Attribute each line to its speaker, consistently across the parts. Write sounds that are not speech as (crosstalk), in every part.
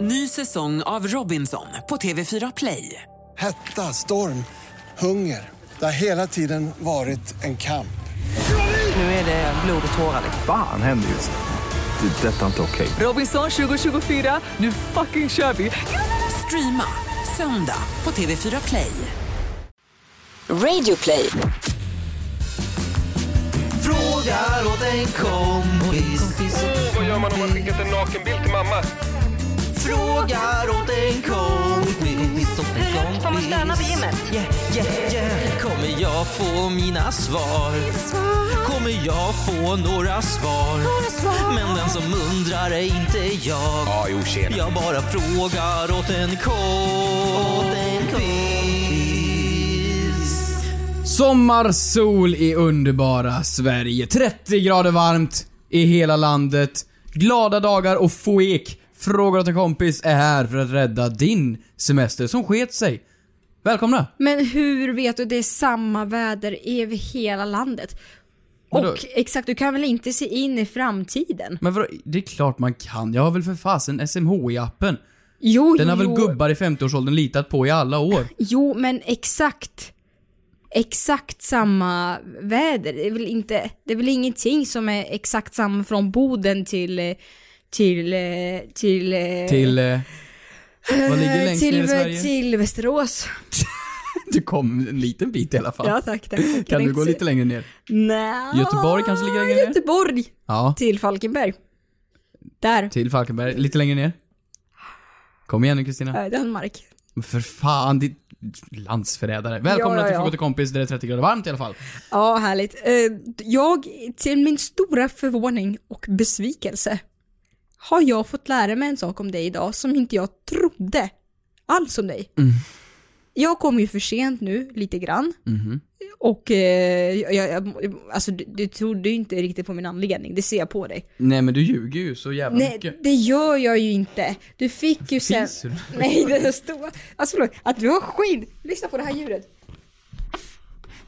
Speaker 1: Ny säsong av Robinson på TV4 Play.
Speaker 2: Hetta, storm, hunger. Det har hela tiden varit en kamp.
Speaker 1: Nu är det Eh, blod och tårar. liksom.
Speaker 3: Fan händer just nu. Det. är Detta är inte okej.
Speaker 1: Robinson 2024, nu fucking kör vi! Streama söndag på TV4 Play.
Speaker 4: Radio play.
Speaker 5: Frågar åt en kompis.
Speaker 6: Vad gör man om man skickat en nakenbild till mamma?
Speaker 5: Frågar åt en kompis.
Speaker 7: Hur får man stöna på gymmet?
Speaker 5: Yeah, yeah, yeah. Kommer jag få mina svar? Kommer jag få några svar? Men den som undrar är inte jag.
Speaker 6: Ja, jo tjena.
Speaker 5: Jag bara frågar åt en kompis.
Speaker 8: Sommarsol i underbara Sverige. 30 grader varmt i hela landet. Glada dagar och få ek. Frågar åt en kompis är här för att rädda din semester som sket sig. Välkomna!
Speaker 9: Men hur vet du det är samma väder över hela landet?
Speaker 8: Vadå?
Speaker 9: Och exakt, du kan väl inte se in i framtiden?
Speaker 8: Men vadå, det är klart man kan. Jag har väl för fasen SMHI-appen.
Speaker 9: Jo,
Speaker 8: Den har väl
Speaker 9: jo,
Speaker 8: gubbar i 50-årsåldern litat på i alla år.
Speaker 9: jo, men exakt. Exakt samma väder. Det är väl inte, det är väl ingenting som är exakt samma från Boden till, eh, till, eh, till, eh,
Speaker 8: Till... Eh, vad ligger längst ner i
Speaker 9: till,
Speaker 8: Sverige?
Speaker 9: till Västerås.
Speaker 8: Du kom en liten bit i alla fall.
Speaker 9: Ja tack, tack. Jag
Speaker 8: kan du
Speaker 9: inte
Speaker 8: gå
Speaker 9: se-
Speaker 8: lite längre ner?
Speaker 9: Nja,
Speaker 8: Göteborg kanske ligger längre ner?
Speaker 9: Göteborg
Speaker 8: Ja.
Speaker 9: till Falkenberg. Där.
Speaker 8: Till Falkenberg, lite längre ner. Kom igen nu Kristina.
Speaker 9: Äh, Danmark.
Speaker 8: Men För fan, ditt landsförrädare. Välkomna
Speaker 9: Ja, ja,
Speaker 8: till
Speaker 9: ja.
Speaker 8: Fråga till kompis där det är 30 grader varmt i alla fall.
Speaker 9: Ja, härligt. Eh, Jag, till min stora förvåning och besvikelse, har jag fått lära mig en sak om dig idag som inte jag trodde alls om dig. Jag kom ju för sent nu, lite grann. Och eh, jag, jag, alltså, du, du trodde ju inte riktigt på min anledning, det ser jag på dig.
Speaker 8: Nej men du ljuger ju så jävla mycket.
Speaker 9: Nej, det gör jag ju inte. Du fick ju sen...
Speaker 8: Finns det?
Speaker 9: (laughs) Nej, det är stora... Alltså förlåt, att du har skinn... Lyssna på det här ljudet.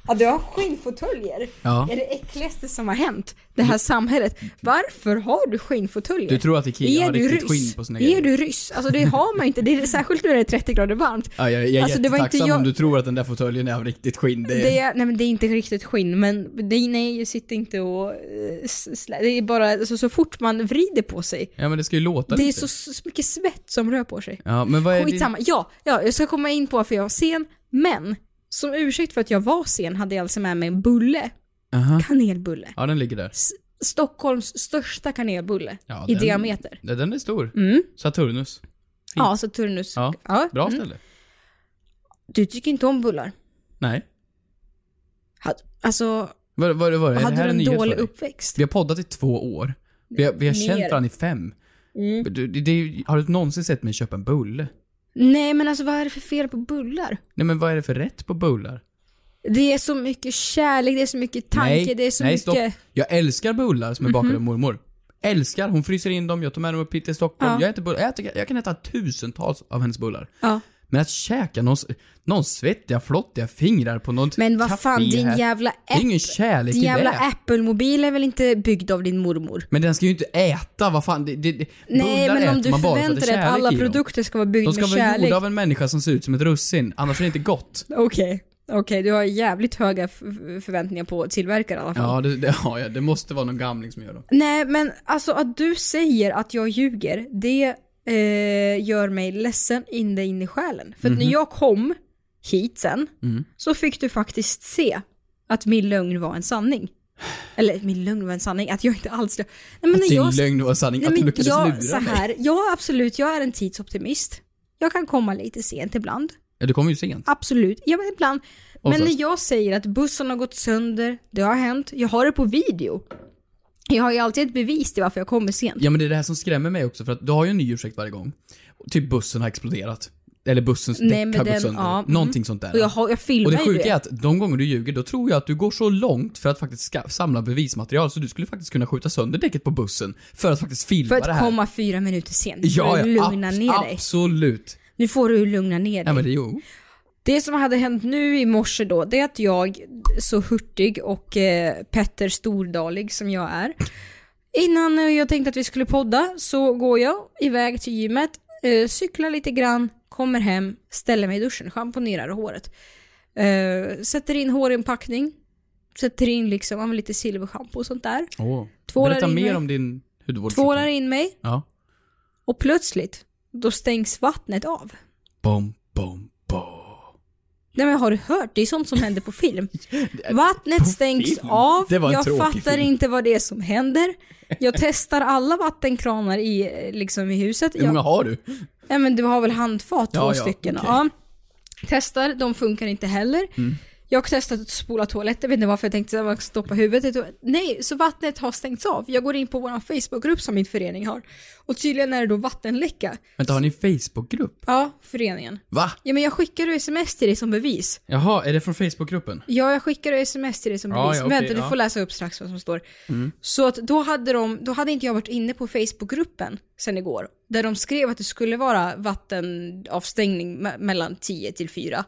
Speaker 9: Att du har skinnfåtöljer
Speaker 8: Ja.
Speaker 9: är det äckligaste som har hänt det här samhället. Varför har du skinnfåtöljer?
Speaker 8: Du tror att Ikea
Speaker 9: Är
Speaker 8: har
Speaker 9: du
Speaker 8: riktigt
Speaker 9: ryss?
Speaker 8: skinn på sina
Speaker 9: Är
Speaker 8: grejer.
Speaker 9: du ryss? Alltså det har man ju inte, det är, särskilt när det är 30 grader varmt.
Speaker 8: Ja, jag, jag är
Speaker 9: Alltså, det var inte
Speaker 8: jättetacksam
Speaker 9: jag-
Speaker 8: om du tror att den där fåtöljen är av riktigt skinn. Det är...
Speaker 9: Det är, nej men det är inte riktigt skinn men det, nej, sitt inte och... eh, s- slä- Det är bara, alltså, så fort man vrider på sig.
Speaker 8: Ja men det ska ju låta
Speaker 9: Det är
Speaker 8: lite.
Speaker 9: så, så mycket svett som rör på sig.
Speaker 8: Ja men vad är
Speaker 9: Skitsamma. Ja, ja, jag ska komma in på varför jag var sen, men som ursäkt för att jag var sen hade jag alltså med mig en bulle.
Speaker 8: din... Aha.
Speaker 9: Kanelbulle.
Speaker 8: Ja den ligger där.
Speaker 9: Stockholms största kanelbulle
Speaker 8: Ja,
Speaker 9: i
Speaker 8: den-
Speaker 9: diameter.
Speaker 8: Ja, Den är stor.
Speaker 9: Mm.
Speaker 8: Saturnus.
Speaker 9: Ja, så Turnus.
Speaker 8: Ja, Bra ställe.
Speaker 9: Du tycker inte om bullar.
Speaker 8: Nej.
Speaker 9: Ha- Alltså,
Speaker 8: Vad vad- vad- är det
Speaker 9: hade
Speaker 8: här en
Speaker 9: du en
Speaker 8: nyhet för
Speaker 9: dålig
Speaker 8: dig?
Speaker 9: uppväxt?
Speaker 8: Vi har poddat i två år. Vi har, vi har
Speaker 9: Mer.
Speaker 8: känt varandra i fem.
Speaker 9: Mm.
Speaker 8: Men du- Det, det, är ju- har du någonsin sett mig köpa en bulle?
Speaker 9: Nej, men alltså vad är det för fel på bullar?
Speaker 8: Nej men vad är det för rätt på bullar?
Speaker 9: Det är så mycket kärlek, det är så mycket tanke,
Speaker 8: nej,
Speaker 9: det är så
Speaker 8: nej,
Speaker 9: mycket... Mhm.
Speaker 8: stopp. Jag älskar bullar som är bakade av mormor. Älskar, hon fryser in dem, jag tar med dem upp hit till Stockholm. Jag äter bullar, jag, tycker, jag kan äta tusentals av hennes bullar.
Speaker 9: Ja.
Speaker 8: Men att käka någons, någons svettiga, flottiga fingrar på något
Speaker 9: Men vad
Speaker 8: café
Speaker 9: fan, din
Speaker 8: här.
Speaker 9: jävla
Speaker 8: Det är
Speaker 9: äpp-
Speaker 8: ingen kärlek
Speaker 9: Din
Speaker 8: i
Speaker 9: jävla
Speaker 8: det.
Speaker 9: Apple-mobil är väl inte byggd av din mormor?
Speaker 8: Men den ska ju inte äta, vad fan. Det, det, det,
Speaker 9: Nej,
Speaker 8: bullar
Speaker 9: men om
Speaker 8: äter
Speaker 9: du
Speaker 8: man bara för
Speaker 9: förväntar
Speaker 8: det är
Speaker 9: dig att
Speaker 8: kärlek
Speaker 9: alla
Speaker 8: i dem.
Speaker 9: produkter ska vara byggda
Speaker 8: De ska
Speaker 9: med
Speaker 8: vara
Speaker 9: kärlek.
Speaker 8: gjorda av en människa som ser ut som ett russin, annars är det inte gott.
Speaker 9: Okej, okej, du har jävligt höga f- förväntningar på tillverkare i alla fall.
Speaker 8: Ja, det, det har jag. Det måste vara någon gamling som gör dem.
Speaker 9: Nej, men alltså att du säger att jag ljuger, det eh, gör mig ledsen inne in i själen. För att
Speaker 8: Mhm.
Speaker 9: när jag kom hit sen,
Speaker 8: Mm.
Speaker 9: så fick du faktiskt se att min lögn var en sanning. Eller min lögn var en sanning, att jag inte alls ljög. Nej, men
Speaker 8: att
Speaker 9: när
Speaker 8: din
Speaker 9: jag,
Speaker 8: lögn var sanning, att du lyckades
Speaker 9: jag,
Speaker 8: lura
Speaker 9: så
Speaker 8: mig.
Speaker 9: här, Ja, absolut, jag är en tidsoptimist. Jag kan komma lite sent ibland.
Speaker 8: Ja, du kom ju sent.
Speaker 9: Absolut, ja men ibland.
Speaker 8: Och
Speaker 9: Men
Speaker 8: så-
Speaker 9: när jag säger att bussen har gått sönder, det har hänt, jag har det på video. Jag har ju alltid ett bevis till varför jag kommer sent.
Speaker 8: Ja, men det är det här som skrämmer mig också, för att du har ju en ny ursäkt varje gång. Typ bussen har exploderat. Eller bussens
Speaker 9: Nej,
Speaker 8: däck
Speaker 9: men
Speaker 8: har gått
Speaker 9: den-
Speaker 8: sönder.
Speaker 9: ja, mm.
Speaker 8: Någonting sånt där.
Speaker 9: Och jag, har, jag
Speaker 8: Och
Speaker 9: filmar
Speaker 8: det
Speaker 9: ju
Speaker 8: sjuka är
Speaker 9: det.
Speaker 8: att de gånger du ljuger, då tror jag att du går så långt för att faktiskt ska- samla bevismaterial så du skulle faktiskt kunna skjuta sönder däcket på bussen för att faktiskt filma
Speaker 9: För
Speaker 8: det
Speaker 9: att
Speaker 8: här.
Speaker 9: komma fyra minuter sent.
Speaker 8: ja,
Speaker 9: för
Speaker 8: ja,
Speaker 9: att lugna
Speaker 8: abs-
Speaker 9: ner dig.
Speaker 8: absolut.
Speaker 9: Nu får du lugna ner
Speaker 8: Ja,
Speaker 9: dig.
Speaker 8: men det, jo.
Speaker 9: Det som hade hänt nu i morse då, det är att jag, så hurtig och eh, Petter Stordalig som jag är, innan eh, jag tänkte att vi skulle podda så går jag iväg till gymmet, eh, cyklar lite grann, kommer hem, ställer mig i duschen, schamponerar håret. Eh, sätter in hårinpackning, sätter in liksom, ja, men lite silverschampo och sånt där.
Speaker 8: Oh.
Speaker 9: Tvålar
Speaker 8: Berätta
Speaker 9: in
Speaker 8: mer
Speaker 9: mig.
Speaker 8: om din hudvård.
Speaker 9: Tvålar in mig
Speaker 8: Ja.
Speaker 9: och plötsligt, då stängs vattnet av.
Speaker 8: Bom, bom, bom.
Speaker 9: Nej men har du hört? Det är sånt som händer
Speaker 8: (laughs)
Speaker 9: på film. Vattnet stängs
Speaker 8: film?
Speaker 9: av,
Speaker 8: Det var en
Speaker 9: jag
Speaker 8: tråkig
Speaker 9: fattar
Speaker 8: film.
Speaker 9: inte vad det är som händer. Jag testar alla vattenkranar i, eh, liksom, i huset.
Speaker 8: Hur många
Speaker 9: Jag,
Speaker 8: har du?
Speaker 9: ja, men du har väl handfat, två
Speaker 8: Ja, ja,
Speaker 9: stycken?
Speaker 8: okej. Mm.
Speaker 9: Ja. Testar, de funkar inte heller. Jag har testat att spola toaletten, vet inte varför jag tänkte att jag stoppa huvudet. i toa- Nej, så vattnet har stängts av. Jag går in på vår Facebookgrupp som min förening har. Och tydligen är det då vattenläcka.
Speaker 8: Vänta, har ni Facebookgrupp?
Speaker 9: Ja, föreningen.
Speaker 8: Va?
Speaker 9: Ja men jag skickar ju sms till dig som bevis.
Speaker 8: Jaha, är det från Facebookgruppen?
Speaker 9: Ja, jag skickade sms till dig som
Speaker 8: Ja,
Speaker 9: bevis.
Speaker 8: ja, okej,
Speaker 9: Vänta,
Speaker 8: ja. Mm.
Speaker 9: du får läsa upp strax vad som står. Så att då hade de, då hade inte jag varit inne på Facebookgruppen sen igår. Där de skrev att det skulle vara vattenavstängning me- mellan 10 till 4.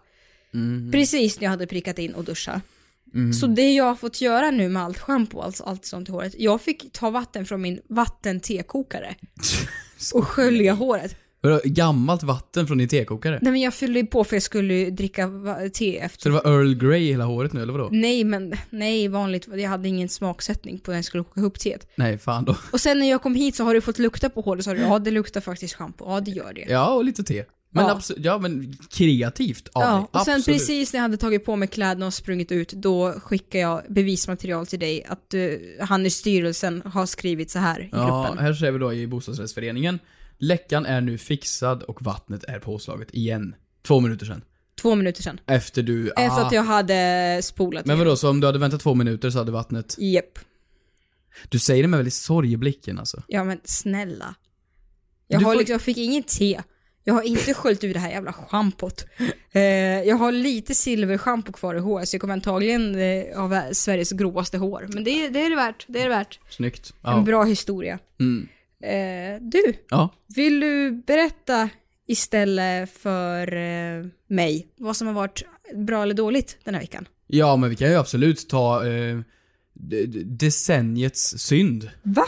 Speaker 8: Mhm.
Speaker 9: Precis när jag hade prickat in och duscha. Så det jag har fått göra nu med allt schampo och allt, allt sånt i håret, jag fick ta vatten från min
Speaker 8: (laughs)
Speaker 9: vattentekokare och skölja håret.
Speaker 8: Vadå, Gammalt vatten från din tekokare?
Speaker 9: Nej men jag fyllde ju på för jag skulle ju dricka va- te efter
Speaker 8: Så det var Earl Grey i hela håret nu, eller vadå?
Speaker 9: Nej, men nej, vanligt. Jag hade ingen smaksättning på när jag skulle koka ihop teet.
Speaker 8: Nej, fan då.
Speaker 9: Och sen när jag kom hit så har du fått lukta på håret, så har du ja det luktar faktiskt schampo, ja det gör det.
Speaker 8: Ja, och lite te. Men
Speaker 9: Ja.
Speaker 8: absolut, ja men kreativt av dig.
Speaker 9: och sen
Speaker 8: absolut.
Speaker 9: precis när jag hade tagit på mig kläderna och sprungit ut, då skickade jag bevismaterial till dig att eh, han i styrelsen har skrivit så här i
Speaker 8: Ja,
Speaker 9: gruppen.
Speaker 8: här ser vi då i bostadsrättsföreningen. Läckan är nu fixad och vattnet är påslaget igen. Två minuter sen.
Speaker 9: Två minuter sedan.
Speaker 8: Efter du... Ah.
Speaker 9: Efter att jag hade spolat
Speaker 8: Men
Speaker 9: ner.
Speaker 8: vadå, så om du hade väntat två minuter så hade vattnet...
Speaker 9: Japp.
Speaker 8: Du säger det med väldigt sorg i blicken alltså.
Speaker 9: Ja men snälla. Jag,
Speaker 8: Du
Speaker 9: har
Speaker 8: får-
Speaker 9: liksom, jag fick inget te. Jag har inte sköljt ur det här jävla schampot. Eh, jag har lite silverschampo kvar i håret så jag kommer antagligen eh, ha Sveriges gråaste hår. Men det, det är det värt. Det är det värt.
Speaker 8: Snyggt.
Speaker 9: En
Speaker 8: Ja.
Speaker 9: bra historia.
Speaker 8: Mm.
Speaker 9: Eh, du,
Speaker 8: ja.
Speaker 9: vill du berätta istället för eh, mig vad som har varit bra eller dåligt den här veckan?
Speaker 8: Ja, men vi kan ju absolut ta eh, d- d- decenniets synd.
Speaker 9: Va?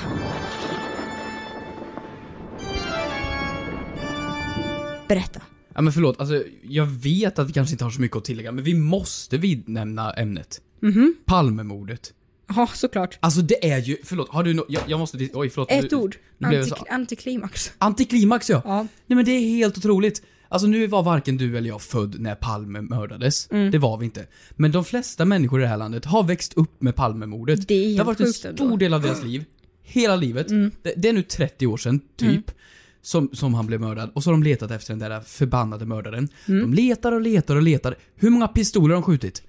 Speaker 9: Berätta.
Speaker 8: Ja, men förlåt, alltså jag vet att vi kanske inte har så mycket att tillägga, men vi måste vidnämna ämnet.
Speaker 9: Mhm.
Speaker 8: Palmemordet.
Speaker 9: Ja, såklart.
Speaker 8: Alltså det är ju, förlåt, har du no- jag, jag måste, oj förlåt.
Speaker 9: Ett
Speaker 8: Nu-
Speaker 9: ord.
Speaker 8: Nu blev jag så,
Speaker 9: Antik- antiklimax.
Speaker 8: antiklimax ja.
Speaker 9: Ja.
Speaker 8: Nej men det är helt otroligt. Alltså nu var varken du eller jag född när Palme mördades.
Speaker 9: Mm.
Speaker 8: Det var vi inte. Men de flesta människor i det här landet har växt upp med Palmemordet.
Speaker 9: Det är
Speaker 8: har
Speaker 9: helt
Speaker 8: varit en
Speaker 9: sjukt
Speaker 8: stor
Speaker 9: ändå. Mm.
Speaker 8: del av deras liv. Hela livet. Det, det är nu 30 år sedan, typ. Som, som han blev mördad. Och så har de letat efter den där förbannade mördaren.
Speaker 9: Mm.
Speaker 8: De letar och letar och letar. Hur många pistoler har de skjutit?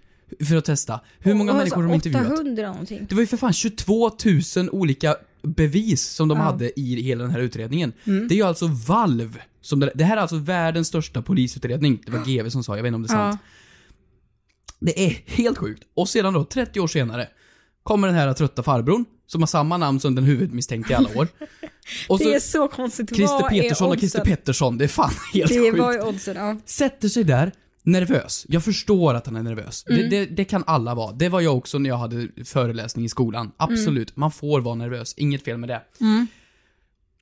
Speaker 8: För att testa. Hur många
Speaker 9: Och alltså,
Speaker 8: människor har de
Speaker 9: så
Speaker 8: intervjuat?
Speaker 9: 800 någonting.
Speaker 8: Det var ju för fan 22 000 olika bevis som de hade i hela den här utredningen.
Speaker 9: Mm.
Speaker 8: Det är ju alltså Valv. Som det, det här är alltså världens största polisutredning. Det var GV som sa, jag vet inte om det är sant. Det är helt sjukt. Och sedan då, 30 år senare, kommer den här trötta farbrorn, som har samma namn som den huvudmisstänkte i alla
Speaker 9: (laughs)
Speaker 8: år. Och
Speaker 9: Det är
Speaker 8: så
Speaker 9: så konstigt.
Speaker 8: Christer
Speaker 9: Vad är
Speaker 8: Petersson och Christer
Speaker 9: oddsen?
Speaker 8: Pettersson, det är fan (laughs) helt
Speaker 9: Det
Speaker 8: sjukt
Speaker 9: var ju oddsen, ja.
Speaker 8: sätter sig där, nervös. Jag förstår att han är nervös. Det, det, det kan alla vara. Det var jag också när jag hade föreläsning i skolan. Absolut, man får vara nervös. Inget fel med det.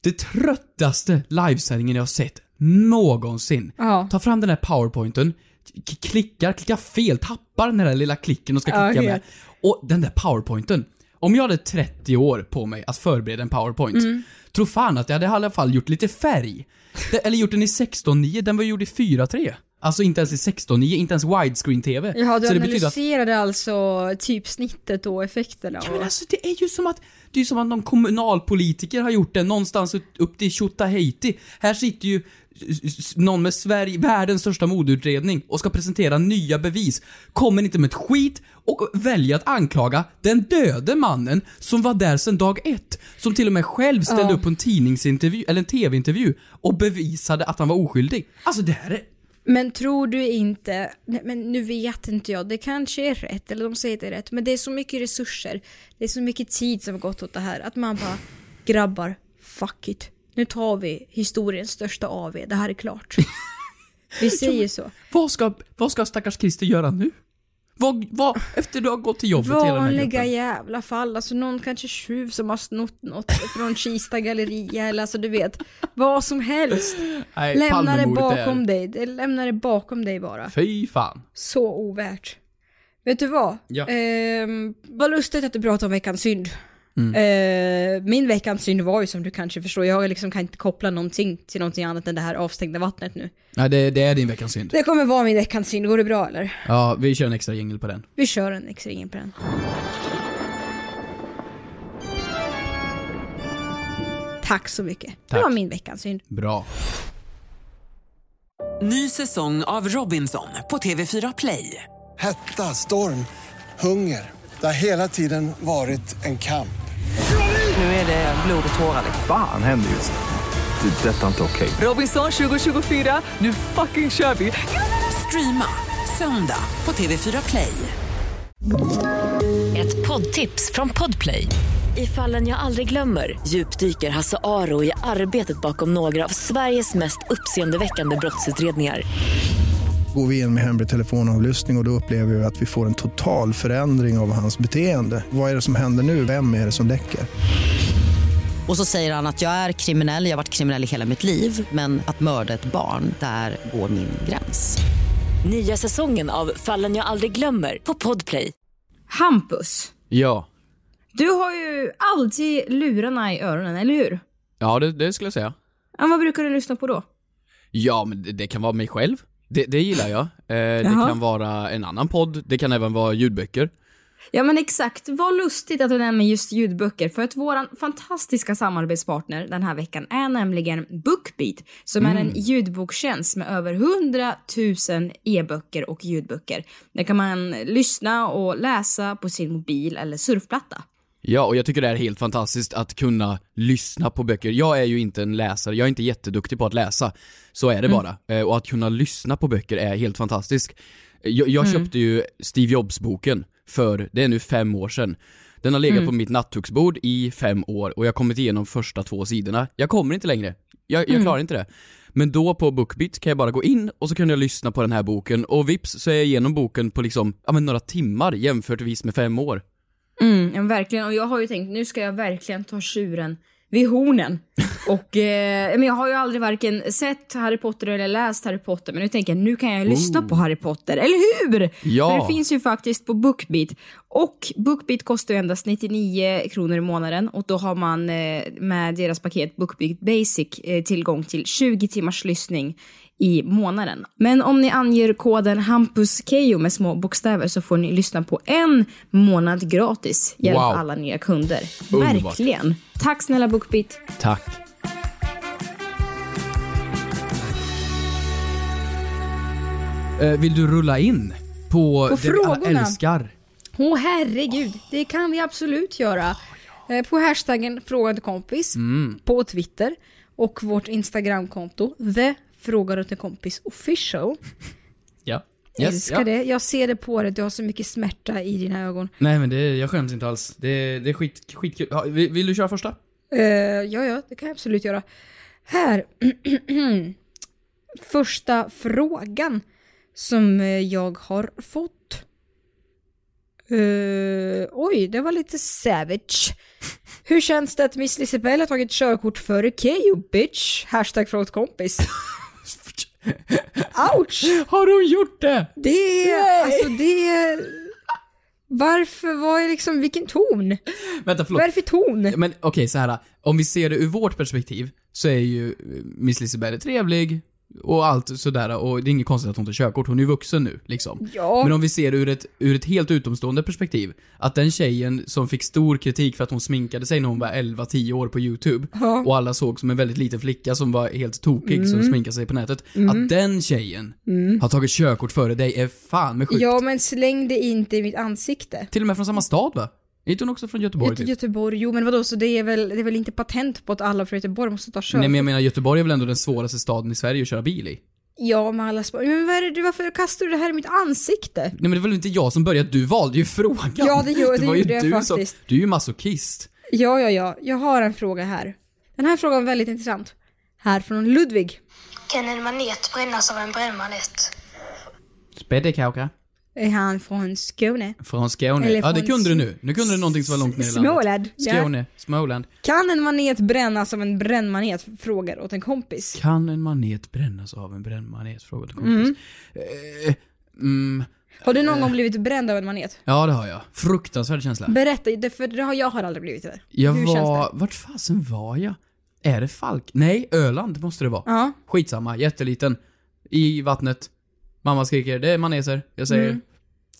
Speaker 8: Det tröttaste livesändningen jag har sett någonsin.
Speaker 9: Ja.
Speaker 8: Ta fram den här powerpointen, k- klickar, klickar fel, tappar den där lilla klicken och ska
Speaker 9: Ja,
Speaker 8: klicka med.
Speaker 9: helt.
Speaker 8: Och den där powerpointen. Om jag hade 30 år på mig att förbereda en powerpoint,
Speaker 9: Mm.
Speaker 8: tro fan att jag hade i alla fall gjort lite färg. Det- Eller gjort den i 16.9, den var gjord i 4.3. Alltså inte ens i 16.9, inte ens widescreen-TV.
Speaker 9: Jaha, du
Speaker 8: Så det betyder att...
Speaker 9: analyserade alltså typsnittet och effekterna
Speaker 8: Ja, men
Speaker 9: och...
Speaker 8: alltså det är ju som att, det är ju som att någon kommunalpolitiker har gjort det någonstans ut- upp till Tjotahejti. Här sitter ju s- s- någon med Sverige, världens största modeutredning och ska presentera nya bevis. Kommer inte med ett skit och väljer att anklaga den döde mannen som var där sedan dag ett. Som till och med själv ställde upp på en tidningsintervju, eller en TV-intervju och bevisade att han var oskyldig. Alltså det här är
Speaker 9: Men tror du inte, nej, men nu vet inte jag, det kanske är rätt, eller de säger att det är rätt, men det är så mycket resurser, det är så mycket tid som har gått åt det här, att man bara, grabbar, fuck it. Nu tar vi historiens största AV,
Speaker 8: (laughs)
Speaker 9: det här är klart. Vi säger så.
Speaker 8: Vad ska, vad ska stackars Christer göra nu? Vad, vad, efter du har gått till jobbet hela den här
Speaker 9: Vanliga
Speaker 8: gruppen.
Speaker 9: jävla fall, alltså någon kanske tjuv som har snott något från Kista galleria eller alltså du vet, vad som helst.
Speaker 8: Nej,
Speaker 9: Lämna det
Speaker 8: Palmemordet
Speaker 9: bakom
Speaker 8: är-
Speaker 9: dig, Det- lämna det bakom dig bara.
Speaker 8: Fy fan.
Speaker 9: Så ovärt. Vet du vad?
Speaker 8: Ja.
Speaker 9: Ehm, vad lustigt att du pratar om veckans synd.
Speaker 8: Mm.
Speaker 9: Ehm, min veckans synd var ju som du kanske förstår, jag liksom kan inte koppla någonting till någonting annat än det här avstängda vattnet nu.
Speaker 8: Nej, det, det är din veckans synd.
Speaker 9: Det kommer vara min veckans synd, går det bra eller?
Speaker 8: Ja, vi kör en extra jingel på den.
Speaker 9: Vi kör en X-ringen på den. Tack så mycket. Det
Speaker 8: Tack.
Speaker 9: var min veckans synd.
Speaker 8: Bra.
Speaker 1: Ny säsong av Robinson på TV4 Play.
Speaker 2: Hetta, storm, hunger. Det har hela tiden varit en kamp.
Speaker 5: Nu är det blod och tårar.
Speaker 3: Fan händer just det. Det är detta inte okej.
Speaker 1: Robinson 2024, nu fucking kör vi! Streama söndag på TV4 Play.
Speaker 10: Ett poddtips från Podplay. I fallen jag aldrig glömmer djupdyker Hasse Aro i arbetet bakom några av Sveriges mest uppseendeväckande brottsutredningar.
Speaker 11: Går vi in med hemlig telefonavlyssning och, och då upplever vi att vi får en total förändring av hans beteende. Vad är det som händer nu? Vem är det som läcker?
Speaker 12: Och så säger han att jag är kriminell, jag har varit kriminell i hela mitt liv men att mörda ett barn, där går min gräns.
Speaker 10: Nya säsongen av Fallen jag aldrig glömmer på Podplay.
Speaker 13: Hampus,
Speaker 8: Ja.
Speaker 13: du har ju alltid lurarna i öronen, eller hur?
Speaker 8: Ja, det, det skulle jag säga.
Speaker 13: Ja, vad brukar du lyssna på då?
Speaker 8: Ja, men det, det kan vara mig själv. Det, det gillar jag. Eh, det
Speaker 13: Jaha.
Speaker 8: kan vara en annan podd. Det kan även vara ljudböcker.
Speaker 13: Ja men exakt, vad lustigt att du nämner just ljudböcker för att våran fantastiska samarbetspartner den här veckan är nämligen Bookbeat som är en ljudboktjänst med över 100 000 e-böcker och ljudböcker. Där kan man lyssna och läsa på sin mobil eller surfplatta.
Speaker 8: Ja, och jag tycker det är helt fantastiskt att kunna lyssna på böcker. Jag är ju inte en läsare, jag är inte jätteduktig på att läsa. Så är det
Speaker 14: Mm.
Speaker 8: bara. Eh, och att kunna lyssna på böcker är helt fantastiskt. Jag, jag
Speaker 14: Mm.
Speaker 8: köpte ju Steve Jobs-boken för, det är nu fem år sedan. Den har legat
Speaker 14: Mm.
Speaker 8: på mitt nattduksbord i fem år och jag har kommit igenom första två sidorna. Jag kommer inte längre. Jag, jag
Speaker 14: Mm.
Speaker 8: klarar inte det. Men då på Bookbit kan jag bara gå in och så kunde jag lyssna på den här boken och vips så är jag igenom boken på liksom, ja men några timmar jämförtvis med fem år.
Speaker 13: Mm, ja, verkligen. Och jag har ju tänkt, nu ska jag verkligen ta tjuren vid hornen. Och eh, men jag har ju aldrig varken sett Harry Potter eller läst Harry Potter, men nu tänker jag nu kan jag ju lyssna
Speaker 8: Ooh.
Speaker 13: på Harry Potter, eller hur?
Speaker 8: Ja.
Speaker 13: För det finns ju faktiskt på Bookbeat. Och Bookbeat kostar ju endast 99 kronor i månaden och då har man eh, med deras paket Bookbeat Basic eh, tillgång till 20 timmars lyssning i månaden. Men om ni anger koden HampusKeyyo med små bokstäver så får ni lyssna på en månad gratis. Hjälp
Speaker 8: Wow.
Speaker 13: alla nya kunder.
Speaker 8: Underbart.
Speaker 13: Verkligen. Tack snälla Bookbeat.
Speaker 8: Tack. Eh, Vill du rulla in på,
Speaker 9: På
Speaker 8: det vi alla
Speaker 9: frågorna.
Speaker 8: älskar?
Speaker 9: Åh herregud, det kan vi absolut göra. Eh, På hashtaggen fråga åt en kompis,
Speaker 8: Mm.
Speaker 9: på Twitter och vårt Instagramkonto, the frågar åt en kompis official.
Speaker 8: Ja.
Speaker 9: Jag älskar det, jag ser det på dig, du har så mycket smärta i dina ögon.
Speaker 8: Nej men det, jag skäms inte alls. Det, det är skit, skitkul. Ja, vill, vill du köra första?
Speaker 9: Eh, ja, ja, det kan jag absolut göra. Här. (clears throat) Första frågan som eh, jag har fått. Eh, oj, det var lite savage. Hur känns det att Miss Lisebell har tagit körkort före Keyyo, bitch? Hashtag från ett kompis. Ouch!
Speaker 8: Har hon gjort (gasps) det?
Speaker 9: Det är, alltså det är... Varför, vad är liksom, vilken ton?
Speaker 8: Vänta, förlåt.
Speaker 9: Vad är det för ton?
Speaker 8: Men okej, så här. Om vi ser det ur vårt perspektiv så är ju eh, Miss Liseberg trevlig och allt sådär och det är inget konstigt att hon tar körkort, hon är ju vuxen nu liksom.
Speaker 14: Ja.
Speaker 8: Men om vi ser det ur ett, ur ett helt utomstående perspektiv, att den tjejen som fick stor kritik för att hon sminkade sig när hon var 11-10 år på YouTube
Speaker 14: Ja.
Speaker 8: och alla såg som en väldigt liten flicka som var helt tokig som
Speaker 9: Mm.
Speaker 8: sminkade sig på nätet,
Speaker 9: Mm.
Speaker 8: att den tjejen
Speaker 9: Mm.
Speaker 8: har tagit körkort före dig är fan med sjukt.
Speaker 9: Ja, men släng det inte i mitt ansikte.
Speaker 8: Till och med från samma stad va? Är inte hon också från Göteborg?
Speaker 9: Göte
Speaker 8: Typ?
Speaker 9: Göteborg, jo men vadå, så det är, väl, det är väl inte patent på att alla från Göteborg måste ta körkort?
Speaker 8: Nej men jag menar Göteborg är väl ändå den svåraste staden i Sverige att köra bil i?
Speaker 9: Ja, med alla spår. Men vad är det, du- varför kastar du det här i mitt ansikte?
Speaker 8: Nej men det var väl inte jag som började, du valde ju frågan!
Speaker 9: Ja, det gör- det
Speaker 8: var ju
Speaker 9: gjorde jag
Speaker 8: du
Speaker 9: faktiskt.
Speaker 8: Som, du är ju masochist.
Speaker 9: Ja, ja, ja, jag har en fråga här. Den här frågan är väldigt intressant. Här från Ludvig.
Speaker 15: Kan en manet brännas av en brännmanet?
Speaker 8: Spädde kaka.
Speaker 9: Är han från Skåne?
Speaker 8: Från Skåne.
Speaker 9: Eller
Speaker 8: Ja, det
Speaker 9: från
Speaker 8: kunde du
Speaker 9: S-
Speaker 8: nu. Nu kunde du någonting som var långt ner i
Speaker 9: Småland,
Speaker 8: landet.
Speaker 9: ja.
Speaker 8: Skåne. Småland.
Speaker 9: Kan en manet brännas som en brännmanet? Frågar åt en kompis.
Speaker 8: Kan en manet brännas av en brännmanet? Frågade kompis.
Speaker 9: Mm.
Speaker 8: Eh, mm.
Speaker 9: Har du någon gång blivit bränd av en manet?
Speaker 8: Ja, det har jag. Fruktansvärd känsla.
Speaker 9: Berätta, det- för det har jag har aldrig blivit det.
Speaker 8: Jag
Speaker 9: Hur känns det?
Speaker 8: var... Vart fasen var jag? Är det Falk? Nej, Öland måste det vara.
Speaker 9: Ja.
Speaker 8: Skitsamma, jätteliten. I vattnet. Mamma skriker, det är maneser. Jag säger,
Speaker 9: Mm.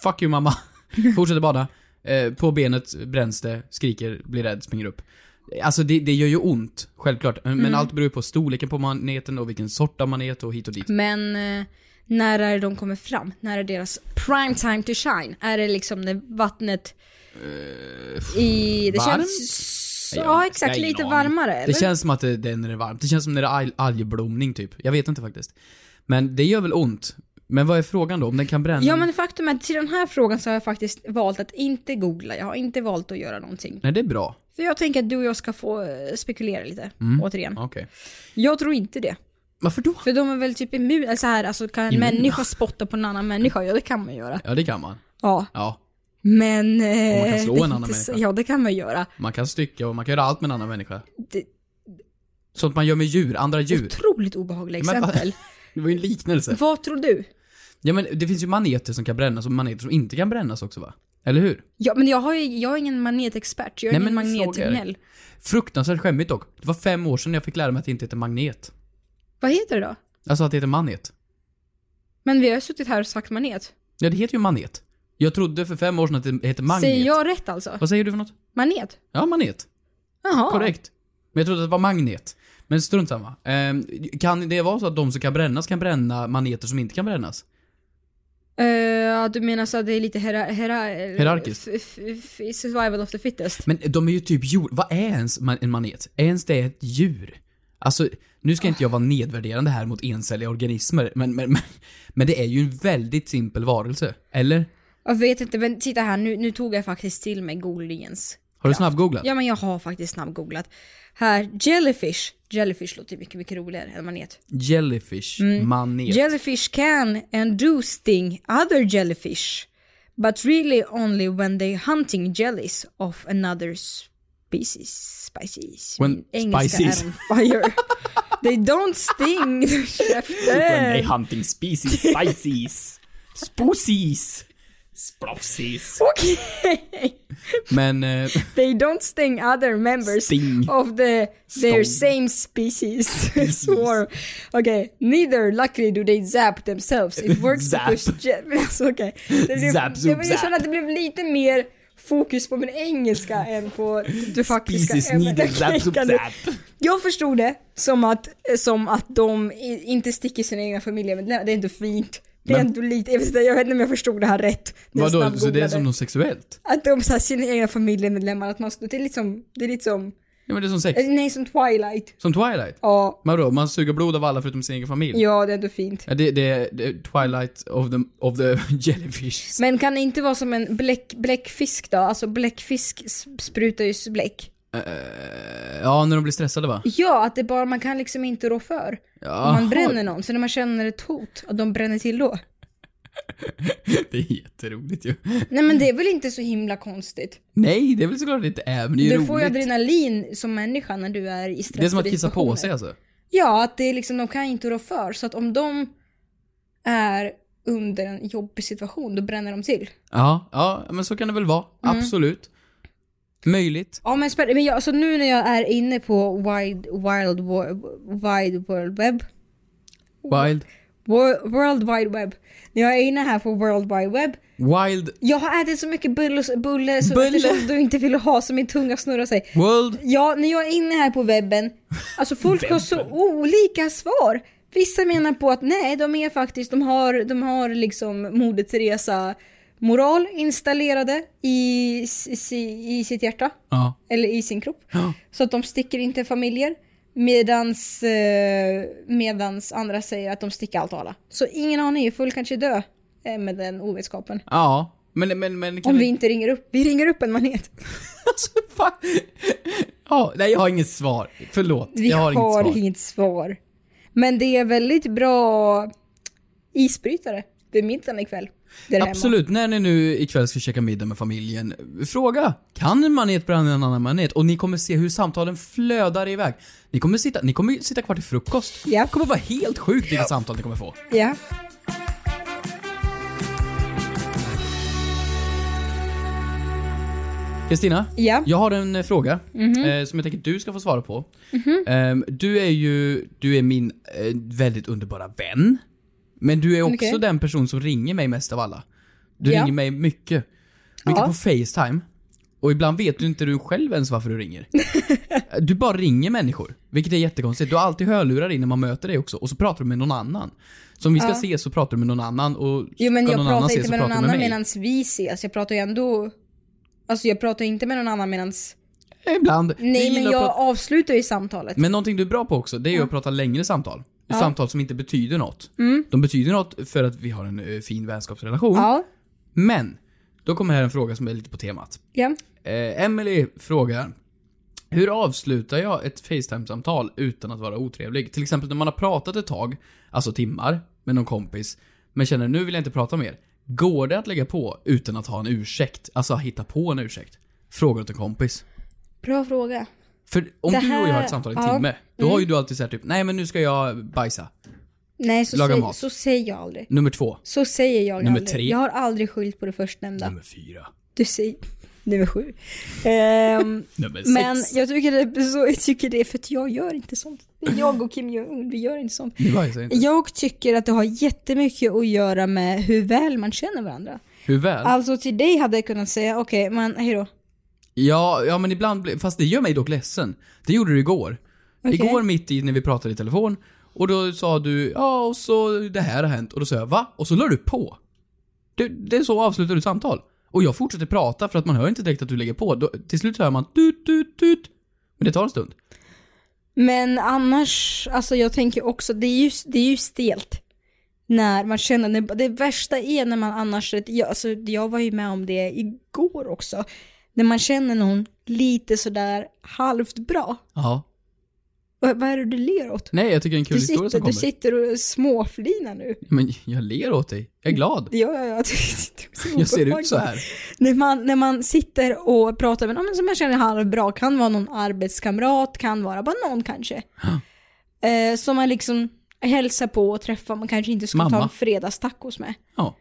Speaker 8: fuck you mamma. (laughs) Fortsätter bada. Eh, på benet bränns det, skriker, blir rädd, springer upp. Alltså det, det gör ju ont, självklart. Men
Speaker 9: Mm.
Speaker 8: allt beror ju på storleken på maneten och vilken sort av manet och hit och dit.
Speaker 9: Men eh, när är de kommer fram? När är deras prime time to shine? Är det liksom när vattnet i... Det
Speaker 8: varmt?
Speaker 9: känns...
Speaker 8: Eh, Jag har-
Speaker 9: Ja,
Speaker 8: jag
Speaker 9: exakt.
Speaker 8: har ingen
Speaker 9: Lite
Speaker 8: aning.
Speaker 9: varmare.
Speaker 8: Det
Speaker 9: eller?
Speaker 8: känns som att det, det är när det är varmt. Det känns som när det är alg- algblomning typ. Jag vet inte faktiskt. Men det gör väl ont. Men vad är frågan då? Om den kan bränna?
Speaker 9: Ja men faktum är att till den här frågan så har jag faktiskt valt att inte googla. Jag har inte valt att göra någonting.
Speaker 8: Nej, det är bra.
Speaker 9: För jag tänker att du och jag ska få eh, spekulera lite.
Speaker 8: Mm.
Speaker 9: Återigen.
Speaker 8: Okej.
Speaker 9: Jag tror inte det.
Speaker 8: Varför då?
Speaker 9: För de är väl typ immuna, eller så här, alltså kan en
Speaker 8: Immuna?
Speaker 9: människa spotta på en annan människa? Ja det kan man göra.
Speaker 8: Ja, det kan man.
Speaker 9: Ja.
Speaker 8: Ja. Och
Speaker 9: Men...
Speaker 8: man kan
Speaker 9: eh,
Speaker 8: slå
Speaker 9: det är
Speaker 8: en annan
Speaker 9: inte så-
Speaker 8: människa.
Speaker 9: Ja det kan man göra.
Speaker 8: Man kan stycka och man kan göra allt med en annan människa.
Speaker 9: Det-
Speaker 8: Sånt man gör med djur, andra djur.
Speaker 9: Otroligt obehagliga
Speaker 8: Men vad- (laughs)
Speaker 9: exempel.
Speaker 8: Det var ju en liknelse.
Speaker 9: Vad tror du?
Speaker 8: Ja men det finns ju maneter som kan brännas och maneter som inte kan brännas också va? Eller hur?
Speaker 9: Ja, men jag, har ju, jag är ingen magnetexpert, jag är
Speaker 8: Nej,
Speaker 9: ingen
Speaker 8: men fråga er.
Speaker 9: magnettunnel.
Speaker 8: Fruktansvärt skämmigt dock. Det var fem år sedan jag fick lära mig att det inte heter magnet.
Speaker 9: Vad heter det då?
Speaker 8: Alltså att det heter manet.
Speaker 9: Men vi har ju suttit här och sagt manet.
Speaker 8: Ja, det heter ju manet. Jag trodde för fem år sedan att det hette magnet.
Speaker 9: Säger jag rätt alltså?
Speaker 8: Vad säger du för något?
Speaker 9: Manet?
Speaker 8: Ja, manet.
Speaker 9: Jaha.
Speaker 8: Korrekt. Men jag trodde att det var magnet. Men strunt samma. Ehm, kan det vara så att de som kan brännas kan bränna maneter som inte kan brännas?
Speaker 9: Eh, ja, du menar så att det är lite hera, hera,
Speaker 8: Hierarkiskt.
Speaker 9: f- f- f- survival of the fittest?
Speaker 8: Men de är ju typ djur. Vad är ens man- en manet? Är ens det ett djur? Alltså, nu ska inte jag vara nedvärderande här mot encelliga organismer, men, men, men, men det är ju en väldigt simpel varelse. Eller?
Speaker 9: Jag vet inte, men titta här, nu, nu tog jag faktiskt till mig googlingens.
Speaker 8: Har du snabbgooglat?
Speaker 9: Ja, men jag har faktiskt snabbgooglat. Här, jellyfish. Jellyfish låter ju mycket, mycket roligare än manet.
Speaker 8: Jellyfish,
Speaker 9: Mm.
Speaker 8: manet.
Speaker 9: Jellyfish can and do sting other jellyfish, but really only when they hunting jellies of another species. Species.
Speaker 8: When-
Speaker 9: Min engelska
Speaker 8: species.
Speaker 9: är on fire. they don't sting. Käften.
Speaker 8: hunting species, species. Spoosies. Splopsies.
Speaker 9: Okej.
Speaker 8: Men... Eh,
Speaker 9: They don't sting other members
Speaker 8: Sting.
Speaker 9: of the
Speaker 8: Sting.
Speaker 9: their same species (laughs) swarm. Okay, neither luckily do they zap themselves. It works
Speaker 8: Zap.
Speaker 9: to push jet. Men (laughs) alltså okej. Det blev-
Speaker 8: Zap, zoop,
Speaker 9: det var- Jag känner
Speaker 8: zap.
Speaker 9: att det blev lite mer fokus på min engelska än på det
Speaker 8: (laughs)
Speaker 9: faktiska
Speaker 8: Species
Speaker 9: ämnet. (laughs)
Speaker 8: neither zap,
Speaker 9: Okej,
Speaker 8: zoop,
Speaker 9: kan du-
Speaker 8: zap.
Speaker 9: Jag förstod det som att, som att de i- inte sticker sina egna familjemedlemmar. Det är inte fint. Det är
Speaker 8: Men-
Speaker 9: ändå lite, jag vet inte- jag vet inte om jag förstod det här rätt. när jag
Speaker 8: vadå, så det är
Speaker 9: snabbgooglade.
Speaker 8: som något sexuellt?
Speaker 9: Att de så här, sina egna familjemedlemmar, att man står, det är lite som, det är lite som,
Speaker 8: Ja men det är som sex.
Speaker 9: eh, nej som Twilight.
Speaker 8: Som Twilight?
Speaker 9: Ja,
Speaker 8: Men vadå, man suger blod av alla förutom sin egen familj?
Speaker 9: ja det är ändå fint.
Speaker 8: Ja, det, det, är- det är Twilight of the, of the (laughs) jellyfish.
Speaker 9: Men kan det inte vara som en bläck, bläckfisk då? Alltså bläckfisk s- sprutar ju s- bläck.
Speaker 8: Eh, ja, när de blir stressade va?
Speaker 9: Ja, att det bara, man kan liksom inte rå för.
Speaker 8: Ja,
Speaker 9: Om
Speaker 8: (laughs)
Speaker 9: man bränner någon, så när man känner ett hot, och de bränner till då.
Speaker 8: Det är jätteroligt ju.
Speaker 9: Nej men det är väl inte så himla konstigt?
Speaker 8: Nej, det är väl såklart det inte är, men det är ju
Speaker 9: Du
Speaker 8: roligt.
Speaker 9: får ju adrenalin som människa när du är i stress
Speaker 8: det är som
Speaker 9: och
Speaker 8: att kissa på
Speaker 9: situationer.
Speaker 8: sig alltså.
Speaker 9: Ja, att det är liksom, de kan inte rå för. Så att om de är under en jobbig situation, då bränner de till.
Speaker 8: Ja, ja, men så kan det väl vara.
Speaker 9: Mm.
Speaker 8: Absolut. Möjligt.
Speaker 9: Ja men spännande, men jag, alltså nu när jag är inne på Wide, wild, Wo- wide World Web,
Speaker 8: Wild.
Speaker 9: Wo- World Wide Web, när jag är inne här på World Wide Web,
Speaker 8: Wild.
Speaker 9: jag har ätit så mycket bulle, bulle så
Speaker 8: Bulle.
Speaker 9: eftersom du inte vill ha så min tunga snurrar sig.
Speaker 8: World.
Speaker 9: Ja, när jag är inne här på webben, alltså folk har så olika svar. Vissa menar på att nej, de är faktiskt, de har, de har liksom Moder Teresa moral installerade i, s- i, i sitt hjärta.
Speaker 8: Ja.
Speaker 9: Eller i sin kropp. Så att de sticker inte familjer. Medans, eh, medans andra säger att de sticker allt och alla. Så ingen aning, full kanske dö eh, med den ovetskapen.
Speaker 8: Ja. Men, men, men kan
Speaker 9: Om
Speaker 8: det- (laughs)
Speaker 9: vi inte ringer upp. Vi ringer upp en manet.
Speaker 8: Ja, nej jag har inget svar. Förlåt,
Speaker 9: Vi
Speaker 8: jag har, inget svar.
Speaker 9: svar. Men det är väldigt bra isbrytare vid middagen ikväll. där hemma.
Speaker 8: Absolut, när ni nu ikväll ska käka middag med familjen, fråga. Kan en manet bränna en annan manet? Och ni kommer se hur samtalen flödar iväg. Ni kommer sitta, ni kommer sitta kvar till frukost.
Speaker 9: Ja.
Speaker 8: Det kommer vara helt sjukt vilket samtal ni kommer få.
Speaker 9: Ja.
Speaker 8: Kristina,
Speaker 9: Ja.
Speaker 8: jag har en eh, fråga
Speaker 9: Mhm.
Speaker 8: eh, som jag tänker att du ska få svara på.
Speaker 9: Mhm.
Speaker 8: Ehm, du är ju, du är min eh, väldigt underbara vän. Men du är också
Speaker 9: Okej.
Speaker 8: den person som ringer mig mest av alla. Du
Speaker 9: Ja.
Speaker 8: ringer mig mycket. Mycket
Speaker 9: Ja.
Speaker 8: på Facetime. Och ibland vet du inte du själv ens varför du
Speaker 9: (laughs)
Speaker 8: ringer. du bara ringer människor. Vilket är jättekonstigt. Du har alltid hörlurar in när man möter dig också. Och så pratar du med någon annan. Så om vi ska
Speaker 9: Ja.
Speaker 8: ses så pratar du med någon annan och
Speaker 9: Jo men
Speaker 8: ska
Speaker 9: jag
Speaker 8: någon annan
Speaker 9: pratar
Speaker 8: ses
Speaker 9: inte
Speaker 8: så
Speaker 9: med någon
Speaker 8: pratar du med
Speaker 9: annan
Speaker 8: mig.
Speaker 9: medan vi ses. Jag pratar ju ändå... Alltså jag pratar inte med någon annan medans...
Speaker 8: Ibland.
Speaker 9: Nej men
Speaker 8: gillar att
Speaker 9: jag
Speaker 8: prata-
Speaker 9: avslutar ju samtalet.
Speaker 8: Men någonting du är bra på också, det är ju att prata längre samtal.
Speaker 9: Ja.
Speaker 8: Samtal som inte betyder något.
Speaker 9: Mm.
Speaker 8: De betyder något för att vi har en eh, fin vänskapsrelation.
Speaker 9: Ja.
Speaker 8: Men, då kommer här en fråga som är lite på temat.
Speaker 9: Ja.
Speaker 8: Eh, Emily frågar Hur avslutar jag ett Facetime-samtal utan att vara otrevlig? Till exempel när man har pratat ett tag, alltså timmar, med någon kompis, men känner nu vill jag inte prata mer. Går det att lägga på utan att ha en ursäkt? Alltså hitta på en ursäkt? Frågar åt en kompis.
Speaker 9: Bra fråga.
Speaker 8: För om
Speaker 9: Det
Speaker 8: du och jag har
Speaker 9: här-
Speaker 8: ett samtal i en
Speaker 9: ja.
Speaker 8: timme, då
Speaker 9: Mm.
Speaker 8: har ju du alltid sagt typ Nej men nu ska jag bajsa.
Speaker 9: Nej så,
Speaker 8: Laga
Speaker 9: säg,
Speaker 8: mat.
Speaker 9: så säger jag aldrig.
Speaker 8: Nummer två.
Speaker 9: Så säger jag
Speaker 8: Nummer
Speaker 9: aldrig.
Speaker 8: tre.
Speaker 9: Jag har aldrig skyllt på det förstnämnda.
Speaker 8: Nummer fyra.
Speaker 9: Du säger... Nummer sju. Ehm,
Speaker 8: Nummer sex.
Speaker 9: men jag tycker, det, så, jag tycker det är för att jag gör inte sånt. Jag och Kim Jong-Un, vi gör inte
Speaker 8: (laughs)
Speaker 9: sånt.
Speaker 8: Ni bajsar inte.
Speaker 9: Jag tycker att det har jättemycket att göra med hur väl man känner varandra.
Speaker 8: Hur väl?
Speaker 9: Alltså till dig hade jag kunnat säga, okej men hejdå.
Speaker 8: Ja, ja men ibland blir, fast det gör mig dock ledsen. Det gjorde du igår.
Speaker 9: Okej.
Speaker 8: Igår mitt i när vi pratade i telefon och då sa du ja och så det här har hänt och då sa jag va? Och så la du på. Det, det är så avslutar du samtal. Och jag fortsätter prata för att man hör inte direkt att du lägger på. Då, till slut hör man tut tut tut. Men det tar en stund.
Speaker 9: Men annars, alltså jag tänker också, det är ju, det är ju stelt. När man känner, när, det värsta är när man annars, jag, alltså, jag var ju med om det igår också. När man känner någon lite sådär halvt bra.
Speaker 8: Ja.
Speaker 9: Vad, vad är det du ler åt?
Speaker 8: Nej, jag tycker det är en kul
Speaker 9: Du
Speaker 8: historia
Speaker 9: sitter,
Speaker 8: som kommer.
Speaker 9: du sitter och småflinar nu.
Speaker 8: Men jag ler åt dig. Jag är glad.
Speaker 9: Ja, ja, (laughs) ja. Det är så
Speaker 8: Jag ser ut
Speaker 9: obehagligt.
Speaker 8: så här.
Speaker 9: När man, när man sitter och pratar med någon som jag känner halvbra, kan vara någon arbetskamrat, kan vara bara någon kanske. eh, som man liksom hälsar på och träffar, man kanske inte skulle ta
Speaker 14: Mamma.
Speaker 9: en fredagstacos med.
Speaker 8: Ja.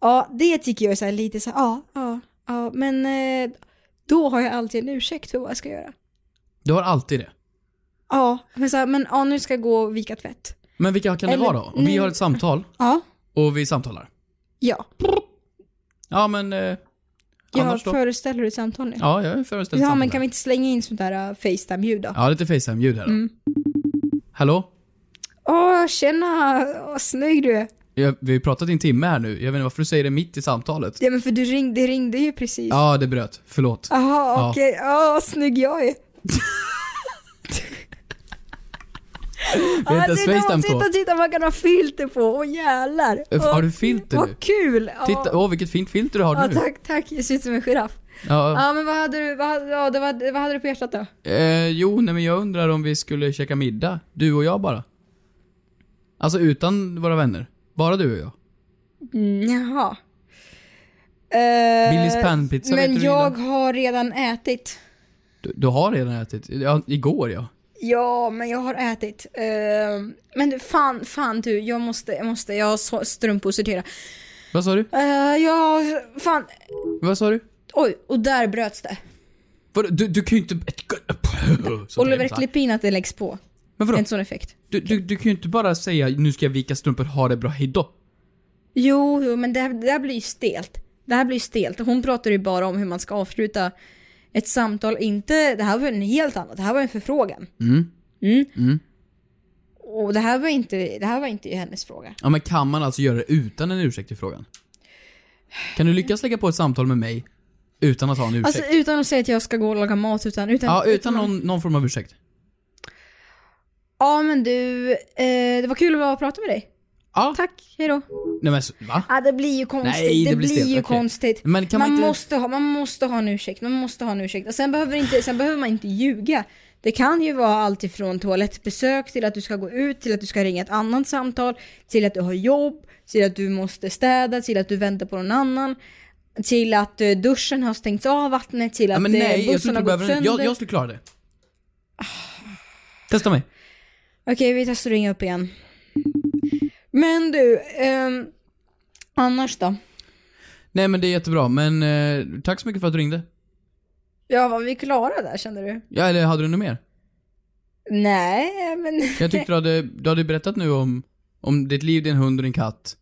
Speaker 9: Ja, det tycker jag är så här lite så här, ja, ja, ja, men eh, då har jag alltid en ursäkt för vad jag ska göra.
Speaker 8: Du har alltid det.
Speaker 9: Ja, men så här, men ja, nu ska jag gå och vika tvätt.
Speaker 8: Men vilka kan det
Speaker 9: Eller-
Speaker 8: vara då? Om vi
Speaker 9: nej.
Speaker 8: har ett samtal
Speaker 9: Ja,
Speaker 8: och vi samtalar.
Speaker 9: ja.
Speaker 8: Ja men... Eh,
Speaker 9: Jag
Speaker 8: annars då?
Speaker 9: föreställer hur ett samtal nu.
Speaker 8: Ja, jag föreställer
Speaker 9: Ja,
Speaker 8: samtal.
Speaker 9: men kan vi inte slänga in sånt där uh, Facetime-ljud då?
Speaker 8: Ja, lite Facetime-ljud här då.
Speaker 9: Mm.
Speaker 8: Hallå?
Speaker 9: Åh, tjena! Åh, snygg du är.
Speaker 8: Jag, vi har pratat i en timme här nu. Jag vet inte varför du säger det mitt i samtalet.
Speaker 9: Ja, men för du ringde, det ringde ju precis.
Speaker 8: Ja, det bröt. Förlåt.
Speaker 9: Jaha,
Speaker 8: Ja.
Speaker 9: okej. Ja, vad snygg jag är.
Speaker 8: Vi har inte ens
Speaker 9: Ah, titta,
Speaker 8: Facetime på.
Speaker 9: titta, titta vad man kan ha filter på. Åh jävlar.
Speaker 8: Ö, Har
Speaker 9: Åh,
Speaker 8: du filter nu?
Speaker 9: Vad kul! Ja.
Speaker 8: Titta, åh vilket fint filter du har
Speaker 9: ja,
Speaker 8: nu.
Speaker 9: tack, tack. Jag ser ut som en giraff.
Speaker 8: Ja,
Speaker 9: Ja, men vad hade du, vad hade, ja, det var, vad hade du på hjärtat då?
Speaker 8: eh, jo, nej, men jag undrar om vi skulle käka middag. Du och jag bara. Alltså utan våra vänner. Bara du och jag.
Speaker 9: Mm, jaha.
Speaker 8: Billys
Speaker 9: Billys
Speaker 8: pannpizza vet
Speaker 9: Men
Speaker 8: du du
Speaker 9: jag har redan ätit.
Speaker 8: Du, du har redan ätit. Ja, igår ja.
Speaker 9: Ja, men jag har ätit. Ehm, men du, fan, fan du, jag måste, jag måste, jag har så- strumpor att sortera.
Speaker 8: Vad sa du?
Speaker 9: Uh, ja, fan.
Speaker 8: Vad sa du?
Speaker 9: Oj, och där bröts det.
Speaker 8: Vadå? Du, du kan ju inte... (laughs)
Speaker 9: Oliver Klippin att det läggs på.
Speaker 8: Men vadå?
Speaker 9: En sån effekt.
Speaker 8: Du, du, du kan ju inte bara säga nu ska jag vika strumpor, ha det bra, hejdå.
Speaker 9: Jo, jo men det, här- det här blir ju stelt. Det här blir ju stelt. Hon pratar ju bara om hur man ska avsluta ett samtal. Inte, det här var en helt annat. Det här var en förfrågan.
Speaker 8: Mm.
Speaker 9: Mm.
Speaker 8: Mm.
Speaker 9: Och det här var inte, det här var inte hennes fråga.
Speaker 8: Ja, men kan man alltså göra det utan en ursäkt i frågan? Kan du lyckas lägga på ett samtal med mig utan att ha en ursäkt?
Speaker 9: Alltså utan att säga att jag ska gå och laga mat utan... utan
Speaker 8: ja, utan någon, någon form av ursäkt.
Speaker 9: Ja men du, eh, det var kul att prata med dig.
Speaker 8: Ja.
Speaker 9: Tack, hejdå.
Speaker 8: Nej men så- va?
Speaker 9: Ja, det blir ju konstigt.
Speaker 8: Nej, det
Speaker 9: det,
Speaker 8: blir
Speaker 9: blir,
Speaker 8: stelt,
Speaker 9: ju
Speaker 8: okej.
Speaker 9: konstigt.
Speaker 8: Men kan man
Speaker 9: man,
Speaker 8: inte-
Speaker 9: måste ha, man måste ha en ursäkt. Man måste ha en ursäkt. Och sen, behöver inte, sen behöver man inte ljuga. Det kan ju vara allt ifrån toalettbesök till att du ska gå ut, till att du ska ringa ett annat samtal, till att du har jobb, till att du måste städa, till att du väntar på någon annan, till att eh, duschen har stängts av vattnet, till att
Speaker 8: Ja, men
Speaker 9: eh,
Speaker 8: nej, jag
Speaker 9: bussen
Speaker 8: skulle,
Speaker 9: har
Speaker 8: inte
Speaker 9: gått
Speaker 8: behöva,
Speaker 9: sönder.
Speaker 8: jag, jag skulle klara det. Testa mig.
Speaker 9: Okej, vi testar att ringa upp igen. Men du, ehm, annars då?
Speaker 8: Nej men det är jättebra, men eh, tack så mycket för att du ringde.
Speaker 9: Ja, var vi klara där kände du?
Speaker 8: Ja, eller hade du något mer?
Speaker 9: Nej, men...
Speaker 8: Jag tyckte du hade, du hade berättat nu om, om ditt liv, din hund och din katt.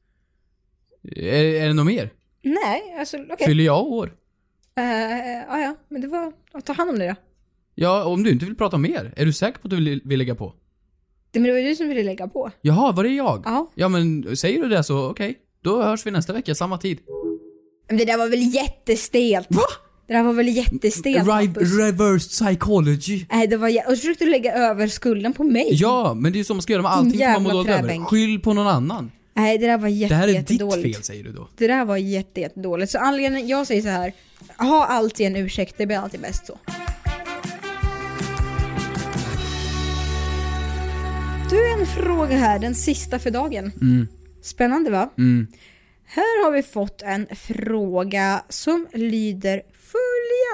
Speaker 8: Är, är det något mer?
Speaker 9: Nej, alltså okej.
Speaker 8: Fyller jag år?
Speaker 9: Eh, ja, ja, men det var... ja, Ta hand om det då.
Speaker 8: Ja, om du inte vill prata mer, är du säker på att du vill, vill lägga på?
Speaker 9: Det, men det var ju du som ville lägga på.
Speaker 8: Jaha, var det jag?
Speaker 9: Ja.
Speaker 8: Ja men säger du det så okej, då hörs vi nästa vecka, samma tid.
Speaker 9: Men det där var väl jättestelt? Va? Det där var väl jättestelt? Hampus?
Speaker 8: reverse psychology.
Speaker 9: Nej, det var jä- Och så försökte du lägga över skulden på mig.
Speaker 8: Ja, men det är ju så man ska göra med allting som
Speaker 9: Mm, Jävla
Speaker 8: man mår dåligt över.
Speaker 9: träbänk.
Speaker 8: Skyll på någon annan.
Speaker 9: Nej, det där var
Speaker 8: Det
Speaker 9: jätte,
Speaker 8: här är ditt
Speaker 9: jättedåligt.
Speaker 8: fel säger du då.
Speaker 9: Det där var jätte, jättedåligt. Så anledningen, jag säger så här. Ha alltid en ursäkt, det blir alltid bäst så. Du, en fråga här, den sista för dagen.
Speaker 8: Mm.
Speaker 9: Spännande va?
Speaker 8: Mm.
Speaker 9: Här har vi fått en fråga som lyder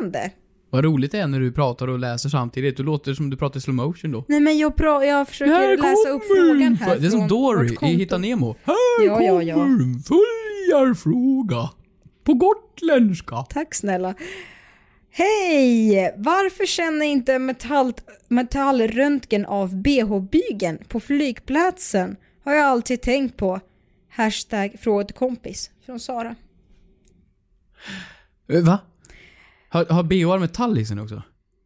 Speaker 9: följande.
Speaker 8: Vad roligt det är när du pratar och läser samtidigt. Du låter som du pratar i slow motion då.
Speaker 9: Nej men jag, pra- jag försöker läsa upp frågan här.
Speaker 8: Det är som
Speaker 9: från
Speaker 8: Dory
Speaker 9: vårt
Speaker 8: i
Speaker 9: konto.
Speaker 8: Hitta Nemo. Här
Speaker 9: Ja, ja, ja.
Speaker 8: kommer en följarfråga. På gotländska.
Speaker 9: Tack snälla. Hej! Varför känner inte metall, metallröntgen av bh-bygeln på flygplatsen? Har jag alltid tänkt på. Hashtag fråga till kompis från Sara.
Speaker 8: Eh, Va? Har, har BHR metall i sig också?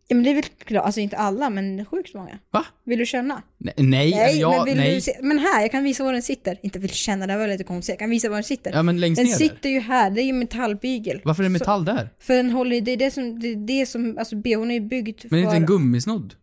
Speaker 9: Ja men det är väl klart, alltså inte alla men sjukt många.
Speaker 8: Va?
Speaker 9: Vill du känna?
Speaker 8: Nej, nej, eller jag,
Speaker 9: men, vill
Speaker 8: nej.
Speaker 9: Du se, men här, jag kan visa var den sitter. Inte vill känna, det var lite konstigt. Jag kan visa var den sitter.
Speaker 8: Ja, men längst
Speaker 9: den
Speaker 8: ner där.
Speaker 9: sitter ju här, det är ju metallbygel.
Speaker 8: Varför är det metall där?
Speaker 9: Så, för den håller ju- det är det som, det är det som, alltså bhn är ju byggd
Speaker 8: Men är det
Speaker 9: för...
Speaker 8: inte en gummisnodd?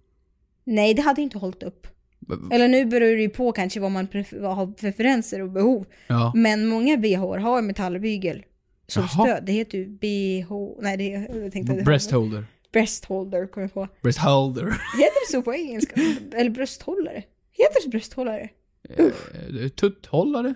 Speaker 9: Nej, det hade inte hållit upp.
Speaker 8: B-
Speaker 9: Eller nu beror det ju på kanske vad man pref- vad har för preferenser och behov.
Speaker 8: Ja.
Speaker 9: Men många bh har metallbygel som
Speaker 8: Jaha.
Speaker 9: stöd. Det heter ju bh... Nej, det jag tänkte att det-
Speaker 8: Breastholder.
Speaker 9: Breastholder kommer jag på.
Speaker 8: Breastholder.
Speaker 9: Heter det så på
Speaker 8: (laughs)
Speaker 9: engelska? Eller brösthållare? Heter det brösthållare?
Speaker 8: Eh, Tutthållare?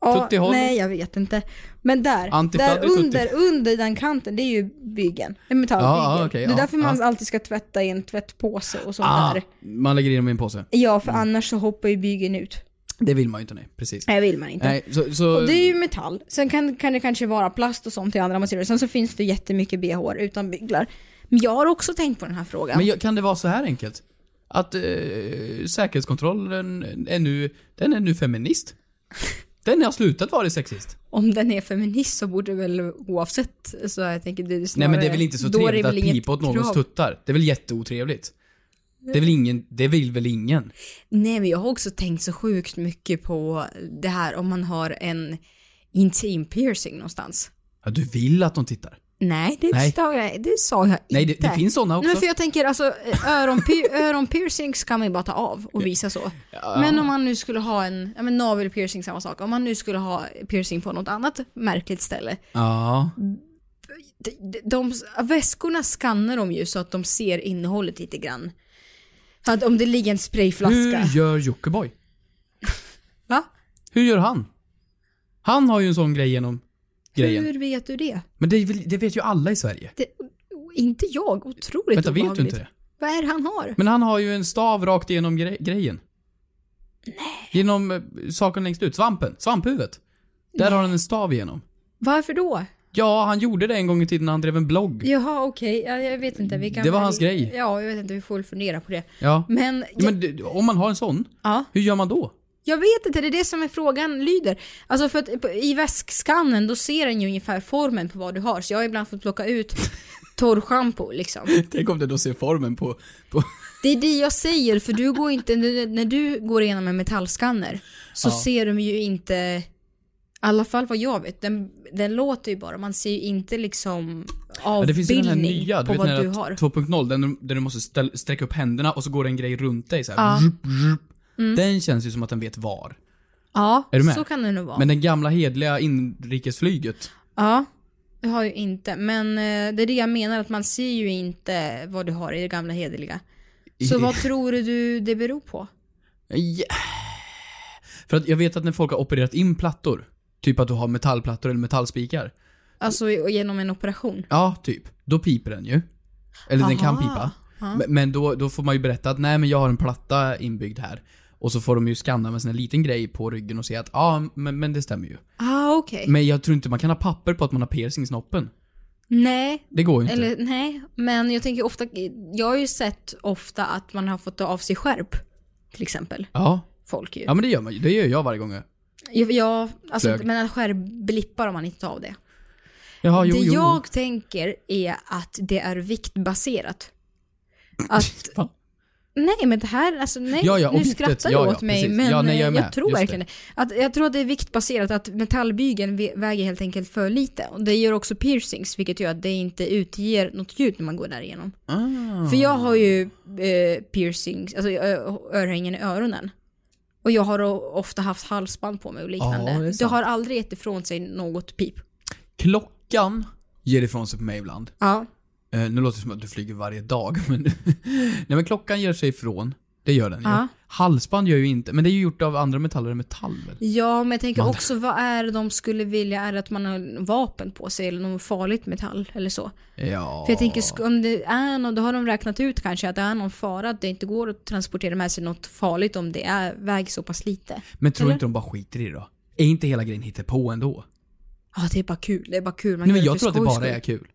Speaker 9: Ja,
Speaker 8: Tuttihållare?
Speaker 9: nej, jag vet inte. Men där,
Speaker 8: Antifladder,
Speaker 9: där
Speaker 8: tutti.
Speaker 9: under, under den kanten, det är ju bygeln. En metallbygel.
Speaker 8: Ja, ja, okej,
Speaker 9: det är
Speaker 8: ja,
Speaker 9: därför man
Speaker 8: ja.
Speaker 9: alltid ska tvätta i en tvättpåse och sånt
Speaker 8: Ah,
Speaker 9: där.
Speaker 8: man lägger in dem i en påse.
Speaker 9: Ja, för annars så hoppar ju bygeln ut.
Speaker 8: Det vill man ju inte, nej. Precis.
Speaker 9: Nej, vill man inte.
Speaker 8: Nej, så, så,
Speaker 9: Och det är ju metall. Sen kan, kan det kanske vara plast och sånt i andra material. Sen så finns det jättemycket bh utan byglar. Men jag har också tänkt på den här frågan.
Speaker 8: Men jag, kan det vara så här enkelt? Att eh, säkerhetskontrollen är nu, den är nu
Speaker 9: (laughs)
Speaker 8: feminist. Den har slutat vara sexist.
Speaker 9: Om den är feminist så borde det väl oavsett så jag tänker det är
Speaker 8: Nej
Speaker 9: snarare-
Speaker 8: men det är väl inte så
Speaker 9: då är det
Speaker 8: trevligt
Speaker 9: väl
Speaker 8: att
Speaker 9: inget
Speaker 8: pipa åt någons
Speaker 9: krav.
Speaker 8: tuttar? Det är väl jätteotrevligt? Det, är väl ingen, det vill väl ingen?
Speaker 9: Nej men jag har också tänkt så sjukt mycket på det här om man har en intim piercing någonstans.
Speaker 8: Ja, du vill att de tittar?
Speaker 9: Nej, det,
Speaker 8: Nej.
Speaker 9: Sa, jag, det sa jag
Speaker 8: Nej, det-
Speaker 9: inte.
Speaker 8: det finns såna också.
Speaker 9: Nej, men för jag tänker alltså, öronpi- (laughs) öronpiercings kan man ju bara ta av och visa så.
Speaker 8: Ja.
Speaker 9: Men om man nu skulle ha en, ja men navelpiercing samma sak, om man nu skulle ha piercing på något annat märkligt ställe.
Speaker 8: Ja.
Speaker 9: De, de, väskorna skannar de ju så att de ser innehållet lite grann. Så att om det ligger en sprayflaska.
Speaker 8: Hur gör Jockiboi?
Speaker 9: (laughs) Va?
Speaker 8: Hur gör han? Han har ju en sån grej genom grejen.
Speaker 9: Hur vet du det?
Speaker 8: Men det, är väl- det vet ju alla i Sverige.
Speaker 9: det inte jag,
Speaker 8: Vänta,
Speaker 9: otroligt
Speaker 8: vet du
Speaker 9: obehagligt.
Speaker 8: inte det?
Speaker 9: Vad är det han har?
Speaker 8: Men han har ju en stav rakt igenom gre- grejen. Genom eh, saken längst ut, svampen, svamphuvudet. Där har han en stav igenom.
Speaker 9: Varför då?
Speaker 8: Ja, han gjorde det en gång i tiden när han drev en blogg.
Speaker 9: Jaha, okej. Ja, jag vet inte. Vi kan
Speaker 8: Det var
Speaker 9: väl-
Speaker 8: hans grej.
Speaker 9: Ja, jag vet inte. Vi får väl fundera på det.
Speaker 8: Ja.
Speaker 9: Men,
Speaker 8: Ja, men det, om man har en sån,
Speaker 9: Ja.
Speaker 8: hur gör man då?
Speaker 9: Jag vet inte, det är det som är frågan lyder. Alltså för att på- i väskscannen då ser den ju ungefär formen på vad du har. Så jag har ibland fått
Speaker 8: (laughs)
Speaker 9: plocka ut torrschampo liksom.
Speaker 8: (laughs) Tänk om det då ser formen på... på
Speaker 9: Det är det jag säger, för du går inte, när du går igenom en metallskanner så
Speaker 8: Ja.
Speaker 9: ser de ju inte, i alla fall vad jag vet, den, den låter ju bara. Man ser ju inte liksom
Speaker 8: ja, det
Speaker 9: avbildning
Speaker 8: finns ju den här nya,
Speaker 9: på
Speaker 8: du vet
Speaker 9: vad
Speaker 8: den
Speaker 9: du
Speaker 8: här
Speaker 9: har.
Speaker 8: 2.0, där du, där du måste ställ, sträcka upp händerna och så går det en grej runt dig så här.
Speaker 9: Ja.
Speaker 8: Zzup, zzup.
Speaker 9: Mm.
Speaker 8: Den känns ju som att den vet var.
Speaker 9: Ja,
Speaker 8: Är du med?
Speaker 9: så kan det nog vara.
Speaker 8: Men den gamla hedliga inrikesflyget,
Speaker 9: Ja, det har ju inte. Men eh, det är det jag menar, att man ser ju inte vad du har i det gamla hederliga. Så vad tror du det beror på?
Speaker 8: Ja. För att jag vet att när folk har opererat in plattor, typ att du har metallplattor eller metallspikar.
Speaker 9: Alltså i- genom en operation?
Speaker 8: Ja, typ. Då piper den ju. Eller den kan
Speaker 9: Aha.
Speaker 8: pipa.
Speaker 9: Ja.
Speaker 8: Men- Men då, då får man ju berätta att nej men jag har en platta inbyggd här. Och så får de ju skanna med sin liten grej på ryggen och säga att ja, men, men det stämmer ju.
Speaker 9: Ah, okej.
Speaker 8: Men jag tror inte man kan ha papper på att man har piercing i snoppen.
Speaker 9: Nej.
Speaker 8: Det går ju inte.
Speaker 9: Eller nej, men jag tänker ofta, jag har ju sett ofta att man har fått ta av sig skärp. Till exempel.
Speaker 8: Ja.
Speaker 9: Folk ju.
Speaker 8: Ja men det gör man ju. Det gör jag varje gång.
Speaker 9: Jag, jag, alltså,
Speaker 8: Flög.
Speaker 9: men att skärp blippar om man inte tar av det.
Speaker 8: Jaha, jo,
Speaker 9: det
Speaker 8: jo.
Speaker 9: jag tänker är att det är viktbaserat. Att... nej men det här, alltså nej,
Speaker 8: Ja, ja,
Speaker 9: nu
Speaker 8: objektet,
Speaker 9: skrattar
Speaker 8: ja,
Speaker 9: du
Speaker 8: ja,
Speaker 9: åt mig
Speaker 8: precis.
Speaker 9: men eh,
Speaker 8: Ja, nej, jag är
Speaker 9: jag,
Speaker 8: med.
Speaker 9: tror
Speaker 8: Just
Speaker 9: verkligen det. Att, jag tror att det är viktbaserat, att metallbygeln vä- väger helt enkelt för lite. Och det gör också piercings, vilket gör att det inte utger något ljud när man går därigenom.
Speaker 8: Ah.
Speaker 9: För jag har ju eh, piercings, alltså ö- örhängen i öronen. Och jag har o- ofta haft halsband på mig och liknande.
Speaker 8: Ja, det är
Speaker 9: det,
Speaker 8: sant.
Speaker 9: har aldrig gett ifrån sig något pip.
Speaker 8: Klockan ger ifrån sig på mig ibland.
Speaker 9: Ja.
Speaker 8: Eh, nu låter det som att du flyger varje dag, (laughs) men... Nej men klockan ger sig ifrån. Det gör den ju.
Speaker 9: Ja.
Speaker 8: Halsband gör ju inte, men det är ju gjort av andra metaller än metall väl?
Speaker 9: Ja, men jag tänker
Speaker 8: Man-
Speaker 9: också vad är det de skulle vilja? Är det att man har vapen på sig eller något farligt metall eller så?
Speaker 8: Ja.
Speaker 9: För jag tänker sk- om det är någon, då har de räknat ut kanske att det är någon fara att det inte går att transportera med sig något farligt om det är, väger så pass lite.
Speaker 8: Men tror
Speaker 9: Eller?
Speaker 8: inte de bara skiter i det då? Är inte hela grejen hittepå ändå?
Speaker 9: Ja, det är bara kul. Det är bara kul. Man
Speaker 8: Nej men
Speaker 9: gör
Speaker 8: jag
Speaker 9: för
Speaker 8: tror att det
Speaker 9: skojs
Speaker 8: bara
Speaker 9: skull.
Speaker 8: är kul.